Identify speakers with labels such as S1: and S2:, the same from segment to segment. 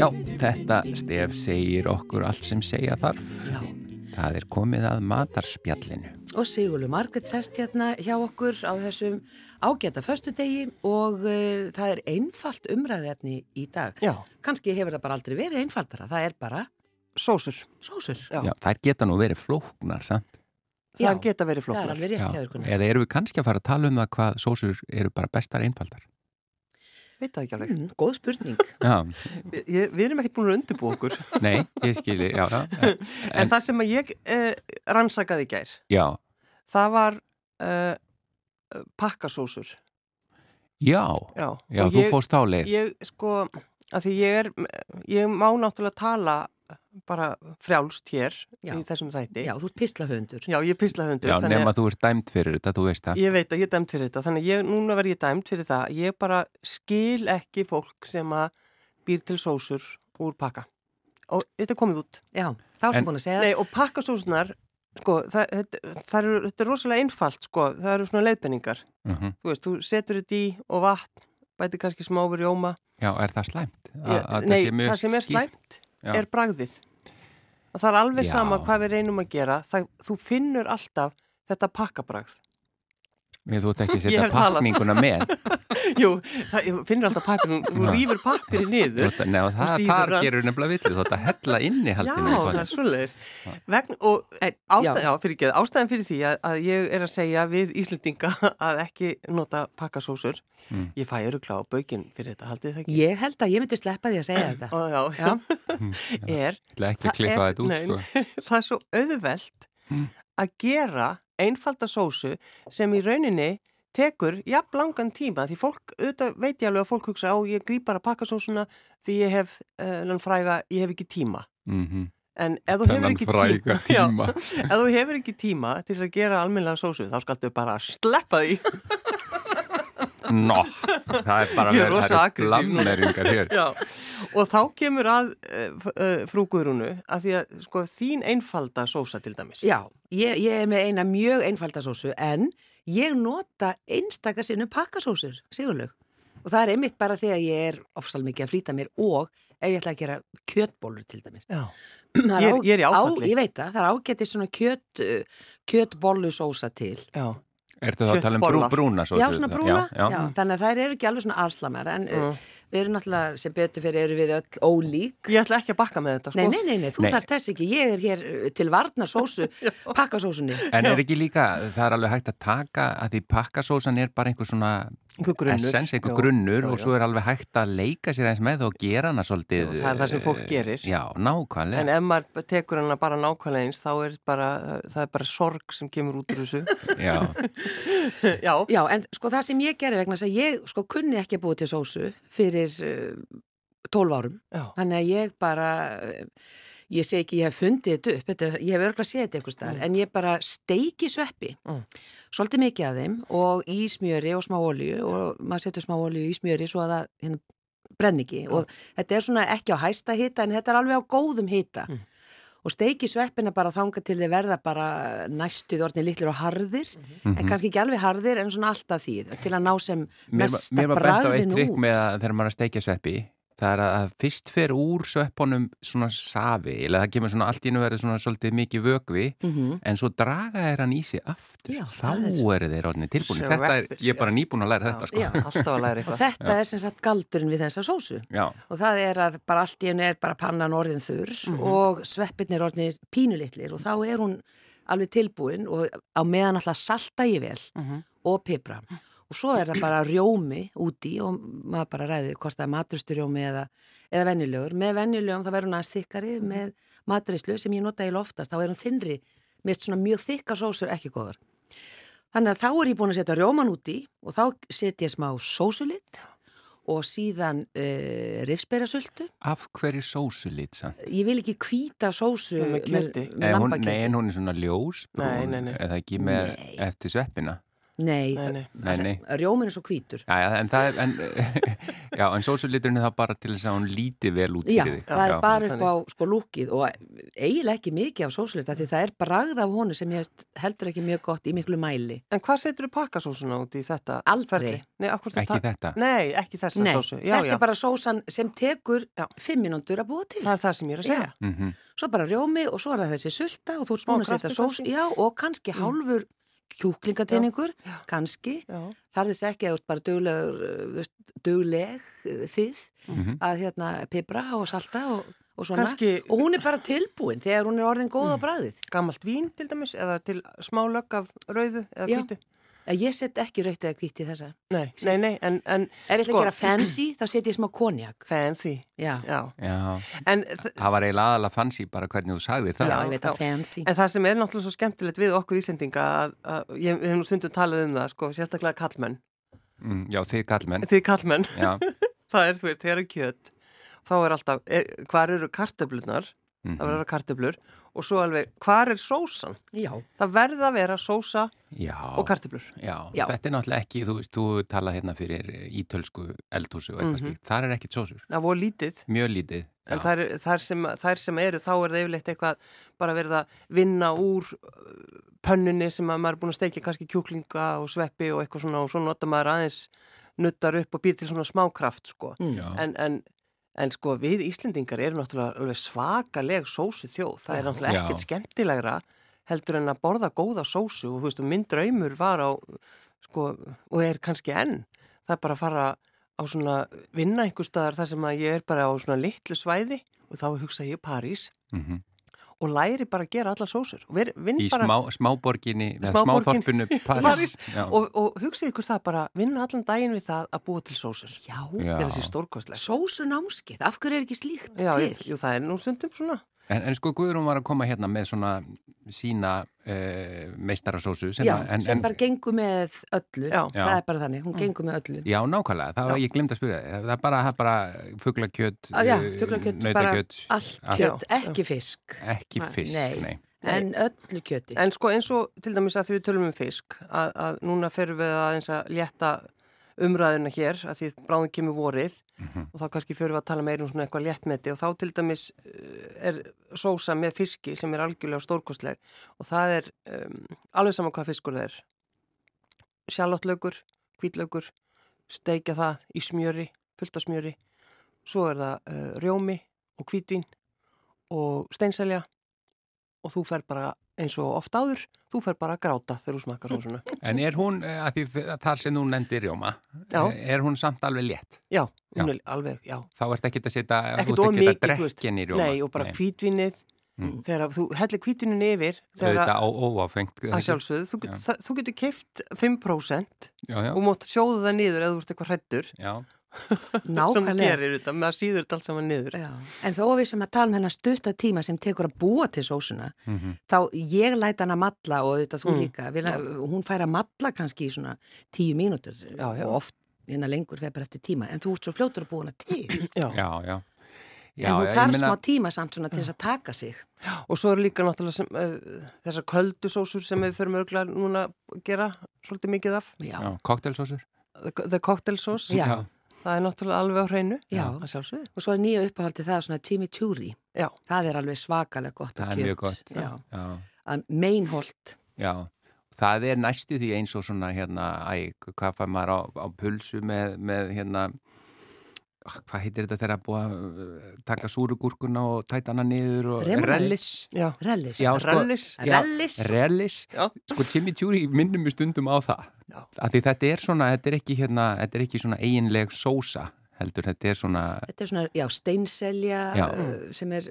S1: Já, þetta stef segir okkur allt sem segja þarf.
S2: Já.
S1: Það er komið að matarspjallinu.
S2: Og Sigurlu Margrét sest hérna hjá okkur á þessum ágæta föstudegi og uh, það er einfalt umræðefni í dag.
S3: Já,
S2: Kanski hefur það bara aldrei verið einfaldara, það er bara
S3: sósur.
S2: sósur.
S3: Já.
S1: Já, þær geta nú verið flóknar, sant?
S3: Það
S2: Já.
S3: geta
S2: Það er
S3: verið flóknar.
S2: alveg rétt hjá þér konar.
S1: Eða eru við kannski að fara að tala um það hvað sósur eru bara bestar einfaldar?
S3: Veit það ekki alveg.
S2: Mm, góð spurning.
S1: Já,
S3: Við, ég- við erum ekkert búin að undirbú okkur.
S1: nei, ég skilji, já, já. en-
S3: En, það sem að ég eh, rannsakaði í gær,
S1: Já,
S3: það var eh, pakkasósur.
S1: já,
S3: Já,
S1: já,
S3: Og
S1: þú
S3: ég,
S1: fóst áleið.
S3: Ég sko, að því ég er, ég má náttúrulega tala bara frjálst hér
S2: Já.
S3: í þessum þætti.
S2: Já, þú ert pislahöndur.
S3: Já, ég písla hundur.
S1: Já, nema þú ert dæmt fyrir þetta, þú veist það.
S3: Ég veit að ég er dæmt fyrir þetta, þannig að ég, núna verð ég dæmt fyrir það. Ég bara skil ekki fólk sem að býr til sósur úr pakka. Og þetta er komið út.
S2: Já, þá ertu
S1: En-
S2: búin að segja
S3: Nei, og pakkasósunar, sko, það, þetta, það eru, þetta er rosalega einfalt, sko. Það eru svona leiðbenningar.
S1: Uh
S3: Þú veist, þú setur þetta í og vatn, bæti kannski smá við rjóma.
S1: Já, er það slæmt? Að-
S3: Ég,
S1: að
S3: nei,
S1: mjög
S3: það sem er
S1: skýrt?
S3: slæmt
S1: Já.
S3: er bragðið. Og það er alveg
S1: Já.
S3: sama hvað við reynum að gera. Það, þú finnur alltaf þetta pakkabragð.
S1: Ég, þú ert ekki að
S3: Ég
S1: setja
S3: hef talað.
S1: pakninguna með.
S3: Jú, það ég finnur alltaf pappir, þú
S1: Já.
S3: rýfur pappirinn
S1: Þú
S3: niður.
S1: ert að- Nei, og
S3: Og
S1: það,
S3: síður
S1: það
S3: hann.
S1: gerur nefnilega villið, þú ert að hella
S3: Já,
S1: innihaldinu. í
S3: það er
S1: honum.
S3: svoleiðis. Vegn, og
S2: En-
S3: ástæðan,
S2: já.
S3: já. fyrir ekki, ástæðan fyrir því að, að ég er að segja við Íslendinga að ekki nota pakkasósur,
S1: Mm.
S3: ég fæ örugla á baukinn fyrir þetta, haldið það ekki?
S2: Ég held að ég myndi sleppa því að segja þetta.
S3: Ó, já,
S2: Já,
S1: Ég
S3: er,
S1: ætla ekki að klippa
S3: er-
S1: þetta út,
S3: nei,
S1: sko.
S3: það er svo auðvelt
S1: Mm.
S3: að gera einfalda sósu sem í rauninni tekur jafn langan tíma því fólk, auðvitað veit ég alveg að fólk hugsa á ég grýp bara pakkasósuna því ég hef, uh, fræga, ég hef ekki tíma
S1: Mm
S3: En ef þú hefur
S1: Þennan
S3: ekki
S1: fræga tíma.
S3: Já, ef þú hefur ekki tíma til þess að gera almennlega sósu, þá skaltu bara sleppa því.
S1: Nó, það er bara
S3: Ég er
S1: verið, það
S3: rosa
S1: eru
S3: aggressív núna.
S1: glammeringar hér.
S3: Já. Og þá kemur að uh, frúguðrunu að því að sko, þín einfalda sósa til dæmis.
S2: já ég, ég er með eina mjög einfaldasósu en ég nota einstakar sinnum pakkasósur, sigurlög. Og það er einmitt bara þegar ég er ofsal mikið að flýta mér og ef ég ætla að gera kjötbólur til dæmis.
S3: Já.
S2: Það
S3: Ég er- ég er í
S2: á-
S3: áfalli.
S2: Á, ég veit það, það er ágætið svona kjöt, uh, kjötbollusósa til.
S3: Já.
S1: Ertu þá að tala um brú,
S3: Kjöttbollar.
S1: brúna svo?
S2: Já, svona brúna.
S1: Já, já.
S2: þannig að þær eru ekki alveg svona afslamar en uh,
S3: Mm.
S2: við erum náttúrulega, sem betur fyrir, eru við öll ólík.
S3: Ég ætla ekki að bakka með þetta.
S2: Nei,
S3: Sko.
S2: nei, nei, nei, þú
S1: Nei.
S2: þarf þess ekki, ég er hér uh, til varna sósu, pakkasósunni.
S1: En er ekki líka, það er alveg hægt að taka að því pakkasósan er bara einhver svona
S3: Einhver grunnur.
S1: essens, einhver
S3: Já,
S1: grunnur
S3: já,
S1: og
S3: já.
S1: svo er alveg hægt að leika sér eins með og gera hana svolítið.
S3: Já, það er það sem fólk
S1: eh,
S3: gerir.
S1: Já, nákvæmlega.
S3: En ef maður tekur hana bara nákvæmlega eins, þá er bara, eh, það er bara sorg sem kemur út úr þessu.
S1: Já,
S3: Já.
S2: Já, en sko það sem ég gerði vegna þess að ég sko kunni ekki að búa til sósu fyrir eh, tólf árum.
S3: Já.
S2: Þannig að ég bara, uh, ég segi ekki, ég hef fundið þetta upp, þetta, ég hef örgulega séð þetta einhvers
S1: Mm.
S2: staðar, en ég bara steiki sveppi,
S3: Mm.
S2: svolítið mikið af þeim og í smjöri og smá olju og maður setur smá olju í smjöri svo að það hérna brenn ekki og þetta er svona ekki á hæsta hita en þetta er alveg á góðum hita.
S3: Mm.
S2: Og steiki sveppina bara þanga til þið verða bara næstuð orðinni litlir og harðir,
S1: Mhm.
S2: en kannski ekki alveg harðir en svona alltaf því, til að ná sem
S1: mér, var-
S2: mesta
S1: mér var bent á eitt
S2: bragðinu
S1: trikk
S2: út.
S1: með að þegar maður er að steikja sveppi það er að- að fyrst fer úr sveppunum svona safi, eða það kemur svona allt í nú verið svona svolítið mikið vögvi
S2: Mhm.
S1: en svo draga þeir hann í sig aftur
S2: Já,
S1: þá
S2: það
S1: eru þeir orðinni tilbúin
S3: Sveppir,
S1: þetta er, ég er bara nýbúin að læra þetta sko
S2: Já.
S3: Alltaf að læra
S2: Og
S3: eitthvað.
S2: þetta er sem sagt galdurinn við þessa sósu.
S1: Já.
S2: Og það er að bara allt í hennu er bara pannan orðin þurr og sveppirnir orðinir pínulitlir og þá er hún alveg tilbúin og á meðan alltaf salta ég vel og pipra. Og svo er það bara rjómi úti og maður bara ræðið hvort það er maturusturjómi eða, eða venjulegur. Með venjulegum þá verður hún aðeins þykkari með maturislu sem ég nota í loftast. Þá er hún þinnri, mest svona mjög þykka sósur ekki góðar. Þannig að þá er ég búin að setja rjóman úti og þá set ég smá sósulitt og síðan uh, rifsberasöldu.
S1: af hverju sósulit samt
S2: Ég vil ekki hvíta sósu
S3: Með kjöti.
S2: með,
S1: Eh,
S2: með
S1: hún, nei, en
S2: lambakjöti.
S1: hún er svona ljós
S3: Nei, nei, nei.
S1: eða ekki með eftir sveppina
S2: Nei,
S3: Nei, nei.
S1: Nei, nei.
S2: rjóminn er svo hvítur.
S1: Já, já, en það er, en, já, en sósuliturinn er það bara til þess að hún líti vel út
S2: Já,
S1: fyrir þig.
S2: það er
S1: Já.
S2: bara upp
S3: þannig.
S2: á sko lúkið og eiginlega ekki mikið af sósulita því það er bragð af honu sem ég veist heldur ekki mjög gott í miklu mæli.
S3: En hvað setur þú pakkasósuna út í þetta?
S2: Aldrei.
S3: ferli? Nei, af hvort þú
S1: Ekki
S3: tak-
S1: þetta.
S3: Nei, ekki þessa
S2: Nei,
S3: sósu. Já,
S2: þetta
S3: já,
S2: er bara sósan sem tekur
S3: Já.
S2: fimm mínúndur að búa til.
S3: það er það sem ég er að segja.
S1: Mm
S2: Svo bara rjómi og svo er það þessi sulta og þú ert
S3: Smá
S2: búin að setja
S3: kraftur
S2: sós,
S3: kannski.
S2: já, og kannski hálfur kjúklingateiningur, kannski.
S3: Já,
S2: Það er þess ekki að þú ert bara duglegur, eh, dugleg eh, þið að hérna pipra og salta og, og svona.
S3: Mhm. Kannski- Mm.
S2: Og hún er bara tilbúin þegar hún er orðin góð á bræðið.
S3: Gammalt vín til dæmis, eða til smá lögg af rauðu eða
S2: Já.
S3: kvítu.
S2: Ég set ekki raukt eða hvitt í þessa.
S3: Nei, nei, nei, en, en
S2: Ef ég ætla
S3: Sko-
S2: að gera fancy, þá set ég smá konjak.
S3: fancy.
S2: Já, já,
S3: Já,
S1: Já,
S3: en, þ-
S1: það var eiginlega aðalega fancy bara hvernig þú sagðir það.
S2: ég veit
S3: já.
S2: að fancy.
S3: en það sem er náttúrulega svo skemmtilegt við okkur Íslendinga, að, að, ég hef nú stundum talað um það, sko, sérstaklega kallmenn.
S1: Mm, já, þið kallmenn.
S3: Þið kallmenn,
S1: Já,
S3: það er, þú veist, þegar er kjöt, þá er alltaf, er, hvar eru kartöflunar,
S1: Mhm.
S3: það verður kartöflur, og svo alveg, hvar er sósan?
S2: Já,
S3: Það verða að vera sósa
S1: já.
S3: og kartöflur.
S1: Já,
S2: Já.
S1: þetta er náttúrulega ekki, þú veist, þú talað hérna fyrir ítölsku eldhúsi og eitthvað
S3: Mhm.
S1: slíkt. Það er ekkit sósur,
S3: Það voru lítið,
S1: mjög lítið.
S3: en
S1: Já.
S3: þær, þær, sem, þær sem eru, þá er það yfirleitt eitthvað bara verið að vinna úr uh, pönnunni sem að maður er búin að steikja kannski kjúklinga og sveppi og eitthvað svona og svo nota maður aðeins nuttar upp og býr til svona smákraft sko.
S2: mm.
S1: Já.
S3: En, en, en sko við Íslendingar erum náttúrulega alveg svakaleg sósu þjóð. Það er náttúrulega
S1: Já.
S3: ekkert skemmtilegra heldur en að borða góða sósu og þú veist, og minn draumur var á, sko, og er kannski enn, það er bara að fara á svona vinna einhver staðar þar sem að ég er bara á svona litlu svæði og þá hugsa ég París
S1: Mhm.
S3: og læri bara að gera alla sósur og ver, vinn
S1: Í
S3: bara
S1: smá, smáborginni, eða
S3: Smáborgin-
S1: smáþorpinu París.
S3: París.
S1: Já.
S3: og, og hugsið ykkur það bara, vinna allan daginn við það að búa til sósur.
S2: já.
S1: Já.
S3: Er þessi stórkostlega?
S2: sósu námskið, af hverju er ekki slíkt
S3: Já,
S2: til?
S3: ég, jú, það er nú stundum svona.
S1: En, en sko Guðrún var að koma hérna með svona sína uh, meistarasósu. Sem
S2: Já,
S1: að- en,
S2: sem
S1: en,
S2: bara gengur með öllu
S3: Já. Mm.
S2: það er bara þannig, hún gengur með öllu
S1: Já, nákvæmlega, það var, ég glemd að spyrja þig. það er bara, það er bara fuglakjöt,
S2: Á, já,
S1: eh,
S2: fuglakjöt,
S1: nautakjöt,
S2: allt
S1: allt.
S2: kjött,
S3: Já,
S2: ekki fisk
S1: ekki fisk,
S2: Nei.
S1: nei.
S2: en öllu kjötti
S3: En sko eins og til dæmis að því við tölum um fisk að, að núna ferum við aðeins að létta umræðuna hér að því bráðum kemur vorið og þá kannski förum við að tala meira um svona eitthvað léttmeti og þá til dæmis eh, er sósa með fiski sem er algjörlega stórkostleg og það er um, alveg saman hvað fiskur það er sjalottlaugur, hvítlaugur steikja það í smjöri fullt af smjöri svo er það uh, rjómi og hvítvín og steinselja og þú fer bara eins og oft áður, þú fer bara að gráta þegar þú smakkar sósuna.
S1: En er hún, að því þ- þar sem hún nefndi rjóma,
S3: Já.
S1: eh, er hún samt alveg létt?
S3: Já, hún er alveg, já.
S1: Þá ert ekki að setja,
S3: Ekkert
S1: þú ert
S3: of
S1: ekki
S3: mikið,
S1: að drekka henni í rjóma. Mm.
S3: Nei, og bara hvítvinnið,
S2: Mm.
S3: þegar að þú hellir hvítvinnið yfir,
S1: Það
S3: þegar
S1: er
S3: að,
S1: á óáfengt. er það
S3: að
S1: ekki?
S3: sjálfsögðu, þú, get, það, þú getur keift 5%
S1: Já, já,
S3: og mótt sjóða það niður eða þú ert eitthvað hrættur
S1: já.
S3: sem þú
S2: nákvæmlega
S3: gerir þetta, með að síður þetta allt saman niður.
S2: Já. En þó að við sem að tala um hennar stutta tíma sem tekur að búa til sósuna,
S1: Mhm.
S2: þá ég læta hann að matla og þetta
S3: Mm.
S2: þú líka, við, hún fær að matla kannski í svona tíu mínútur
S3: Já, já.
S2: og oft hérna lengur þegar bara eftir tíma, en þú ert svo fljótur að búa hana til.
S3: Já.
S1: já, já. Já,
S2: en hún
S1: já, ég
S2: þarf
S1: meina-
S2: smá tíma samt svona til þess að taka sig.
S3: Og svo eru líka náttúrulega sem, uh, þessar köldusósur sem við förum örgulega núna að gera svolítið mikið af,
S2: Já,
S1: Já, koktelsósur.
S3: the, the cocktail sós,
S2: Já.
S3: það er náttúrulega alveg á hreinu,
S2: Já.
S3: að sjálfsögðu.
S2: Og svo er nýja uppáhaldi það svona chimichurri.
S3: Já,
S2: Það er alveg svakalega gott
S1: Það
S2: og
S1: er mjög gott.
S2: Já,
S1: Já,
S2: að meinholt.
S1: já. Það er næstu því eins og svona, hérna, æ, hvað fær maður á, á pulsu með, með, hérna, ah, hvað heitir þetta þegar að búa, að taka súrugúrkuna og tæta hana niður og...
S2: Remoulade.
S1: Rellis.
S3: já.
S2: Rellis.
S1: Já, sko,
S3: Rallis.
S1: já,
S2: Rellis.
S1: Rellis.
S3: Já.
S1: Sko, Timmy Tjúri minnum við stundum á það.
S3: Já.
S1: Af Því þetta er svona, þetta er ekki hérna, þetta er ekki svona eiginleg sósa heldur, þetta er svona,
S2: Þetta er svona, já, steinselja
S1: Já.
S2: uh, sem er, uh,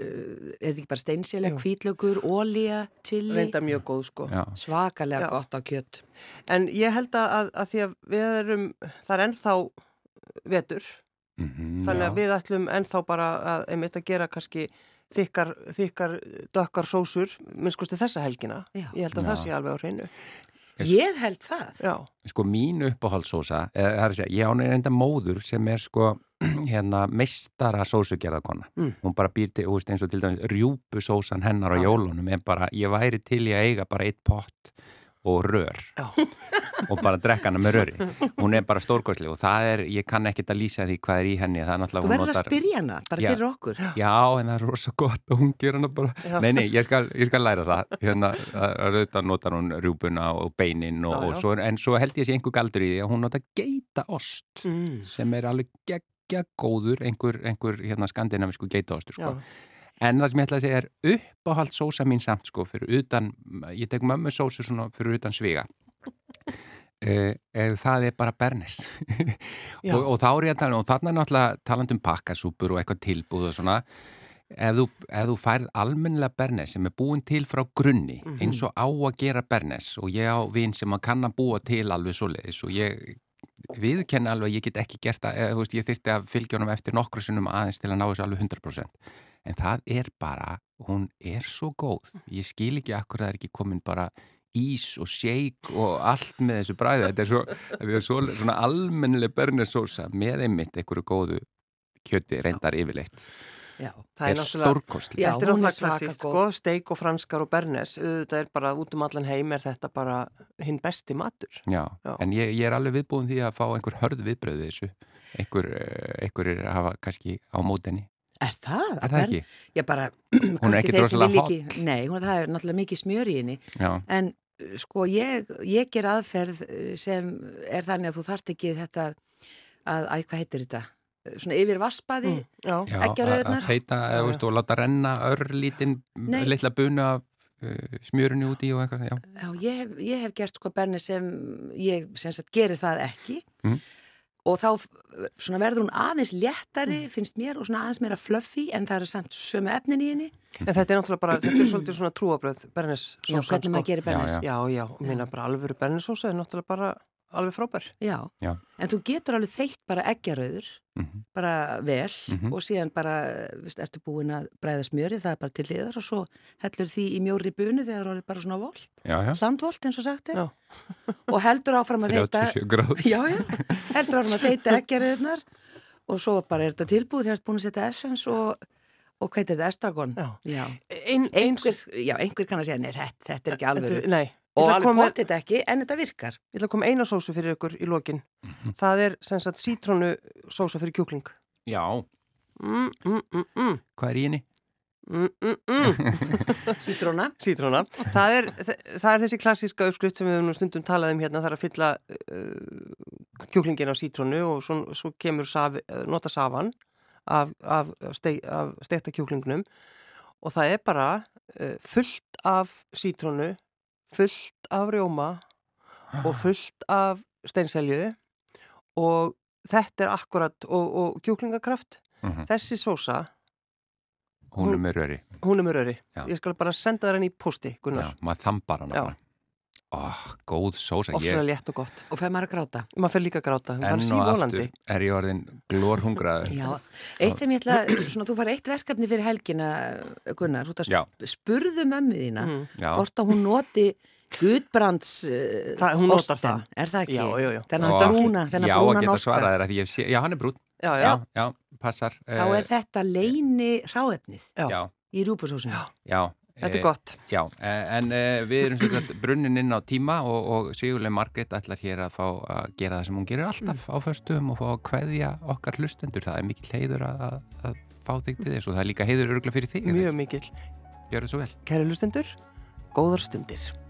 S2: er þetta ekki bara steinselja,
S3: Mm. Jú.
S2: hvítlögur, ólíja, chili,
S3: reynda mjög góð sko.
S1: já,
S2: svakalega
S3: Já.
S2: gott á kjött.
S3: En ég held að, að, að því að við erum, það er ennþá vetur,
S1: mm
S3: þannig að
S1: já,
S3: við ætlum ennþá bara að, einmitt að gera kannski þykkar, þykkar dökkar sósur, minnskosti þessa helgina.
S2: Já.
S3: Ég held að það
S1: Já.
S3: sé alveg á hreinu.
S1: Ég-
S2: Ég held það.
S3: Já,
S1: sko mín uppáhaldssósa, eða það er að segja, ég án er enda móður sem er sko, hérna, meistara sósugerðarkona.
S3: Mm.
S1: Hún bara býr til, þú veist, eins og til dæmis, rjúpusósan hennar á
S3: Já.
S1: jólunum er bara, ég væri til í að eiga bara eitt pott og rör
S3: Já.
S1: og bara drekka hana með röri hún er bara stórkosli og það er, ég kann ekkit að lýsa því hvað er í henni það er náttúrulega
S2: Þú
S1: hún
S2: verður að
S1: notar-
S2: spyrja hana, bara
S1: Já.
S2: fyrir okkur.
S1: Já, en það er rosa gott og hún ger hana bara,
S3: Já.
S1: nei, nei, ég skal, ég skal læra það hérna, það er auðvitað notar hún rjúbuna og beinin og,
S3: Já, já.
S1: og svo, en svo held ég sé einhver galdur í því að hún notar geitaost
S3: Mm.
S1: sem er alveg geggja góður einhver, einhver hérna skandinavisku geitaostu
S3: Já,
S1: sko. en það sem ég ætla að segja er uppáhald sósa mín samt sko fyrir utan, ég tek mömmu sósu svona fyrir utan sviga Uh, það er bara bernis
S3: já.
S1: og, og þá er ég að tala og þarna er náttúrulega taland um pakkasúpur og eitthvað tilbúð og svona ef þú, ef þú færð almennilega bernes sem er búin til frá grunni eins og á að gera bernes og ég á vin sem að kann að búa til alveg svo leiðis og ég viðkenni alveg að ég get ekki gert það, eða, þú veist, ég þyrfti að fylgja honum eftir nokkru sinnum aðeins til að ná þessu alveg 100% en það er bara, hún er svo góð ég skil ekki akkur að það er ekki komin bara ís og shake og allt með þessu bræði, þetta er svo Þetta er svo, svona almennileg bernesósa með einmitt einhverju góðu kjöti reyndar yfirleitt.
S2: Já.
S3: það er náttúrulega
S1: stórkostlega.
S2: Já,
S3: Þetta er
S2: hún er
S3: náttúrulega
S2: svaka
S3: klassist,
S2: góð.
S3: sko, steik og franskar og bernes, þetta er bara út um allan heim er þetta bara hinn besti matur.
S1: Já,
S3: Já.
S1: en ég, ég er alveg viðbúin því að fá einhver hörð viðbröðu þessu. Einhver, eh, einhver er að hafa kannski á mótenni.
S2: Er það?
S1: Er það ekki?
S2: Ég bara,
S1: Hún er
S2: kannski
S1: ekki
S2: þeir sem
S1: drosalega
S2: vilja ekki- Nei, hún, það er náttúrulega mikið smjör í henni.
S1: Já,
S2: En uh, sko, ég, ég ger aðferð uh, sem er þannig að þú þart ekki þetta að, að hvað heitir þetta? Uh, Svona yfir vassbaði.
S3: Mm, Já,
S1: já
S2: Eggjarauðurnar?
S1: að teita
S3: Já, já.
S1: eða, veist, og láta renna örlítinn
S2: Nei.
S1: litla bunu af uh, smjörunni úti og eitthvað, já.
S2: Já, ég hef, ég hef gert sko berni sem ég sem sagt geri það ekki.
S1: Mhm.
S2: Og þá f- svona verður hún aðeins léttari,
S1: Mhm.
S2: finnst mér, og svona aðeins meira fluffy, en það eru samt sömu efnin í henni.
S3: en þetta er náttúrulega bara, þetta er svolítið svona trúabröð, bernes
S2: Já, hvernig maður gerir
S1: Já,
S2: bernis.
S1: já.
S3: Já, já, og minna bara alvöru bernesósa er náttúrulega bara alveg frábær.
S2: Já.
S1: Já.
S2: en þú getur alveg þeitt bara eggjarauður,
S3: Eh,
S1: Mm
S2: bara vel
S1: Mhm.
S2: og síðan bara, veist, ertu búin að bræða smjöri, það er bara til liðar og svo hellur því í mjóri bunu þegar það er orðið bara svona volt,
S1: já, já.
S2: sandvolt eins og sagt er
S3: Já.
S2: og heldur áfram að þeita
S1: 37 gráð.
S2: já, já, heldur áfram að þeita eggjarauðunar og svo bara er þetta tilbúið þegar þú ert búin að setja essens og, og hvað heitir þetta, estragon?
S3: Já.
S2: Já.
S3: Ein,
S2: Einhver, já, einhver kann að segja, nei, þetta, þetta er ekki alveg
S3: Nei, ég
S2: og
S3: ætla að
S2: alveg
S3: koma-
S2: bótt þetta ekki, en þetta virkar
S3: ég ætla að koma eina sósu fyrir ykkur í lokin. Það er sem sagt sítrónu sósa fyrir kjúkling.
S1: Já,
S3: Mm, mm, mm, mm,
S1: hvað er í henni?
S3: mm, mm, mm.
S2: sítróna,
S3: Sítróna. Það er, þa- það er þessi klassíska uppskrift sem við höfum nú stundum talað um hérna, það er að fylla uh, kjúklingin á sítrónu og svo, svo kemur safi, eh, nota safan af, af, af, steik, af steikta kjúklingnum og það er bara uh, fullt af sítrónu, fullt af rjóma
S1: Ah.
S3: og fullt af steinselju og þetta er akkurat og, og kjúklingakraft.
S1: Mhm.
S3: Þessi sósa,
S1: Hún er með röri.
S3: hún er með röri.
S1: Já.
S3: Ég skal bara senda þær henni í posti, Gunnar.
S1: Já, maður þambar hana
S3: Já.
S1: bara. Ó, góð sósa. Ég-
S3: ofsalega létt og gott.
S2: og fæ maður að gráta
S3: Maður fyrir líka að gráta, hún var
S1: enn og
S3: sífólandi.
S1: aftur er ég orðin glórhungraður
S2: Já, eitt sem ég ætla, svona þú farið eitt verkefni fyrir helgina, Gunnar, þú
S1: Já.
S2: þetta spurðu mömmu þína,
S3: Mm.
S1: Já,
S2: hvort að hún noti Guðbrands uh,
S3: Það- hún notar
S2: ostin.
S3: það.
S2: er það ekki?
S3: Já, já, já.
S2: Þennan
S1: Og-
S2: brúna, þennan
S1: já að
S2: brúna
S1: geta svarað
S2: norska.
S1: þér að því ég sé, já hann er brún
S3: Já, já,
S1: já, já, passar
S2: Þá
S1: eh,
S2: er þetta leini hráefnið
S3: já,
S1: já,
S2: í rjúpusósinu.
S1: já,
S3: þetta
S1: eh,
S3: er gott.
S1: Já, eh, en eh, við erum sem sagt brunnin inn á tíma og, og Sigurlega Margrét ætlar hér að fá að gera það sem hún gerir alltaf á föstum og fá að kveðja okkar hlustendur, það er mikill heiður að, að, að fá þig til þess og það er líka heiður örgla fyrir þig,
S3: Mjög mikill.
S1: gjör það svo vel
S3: Kæri lustendur, góðar stundir.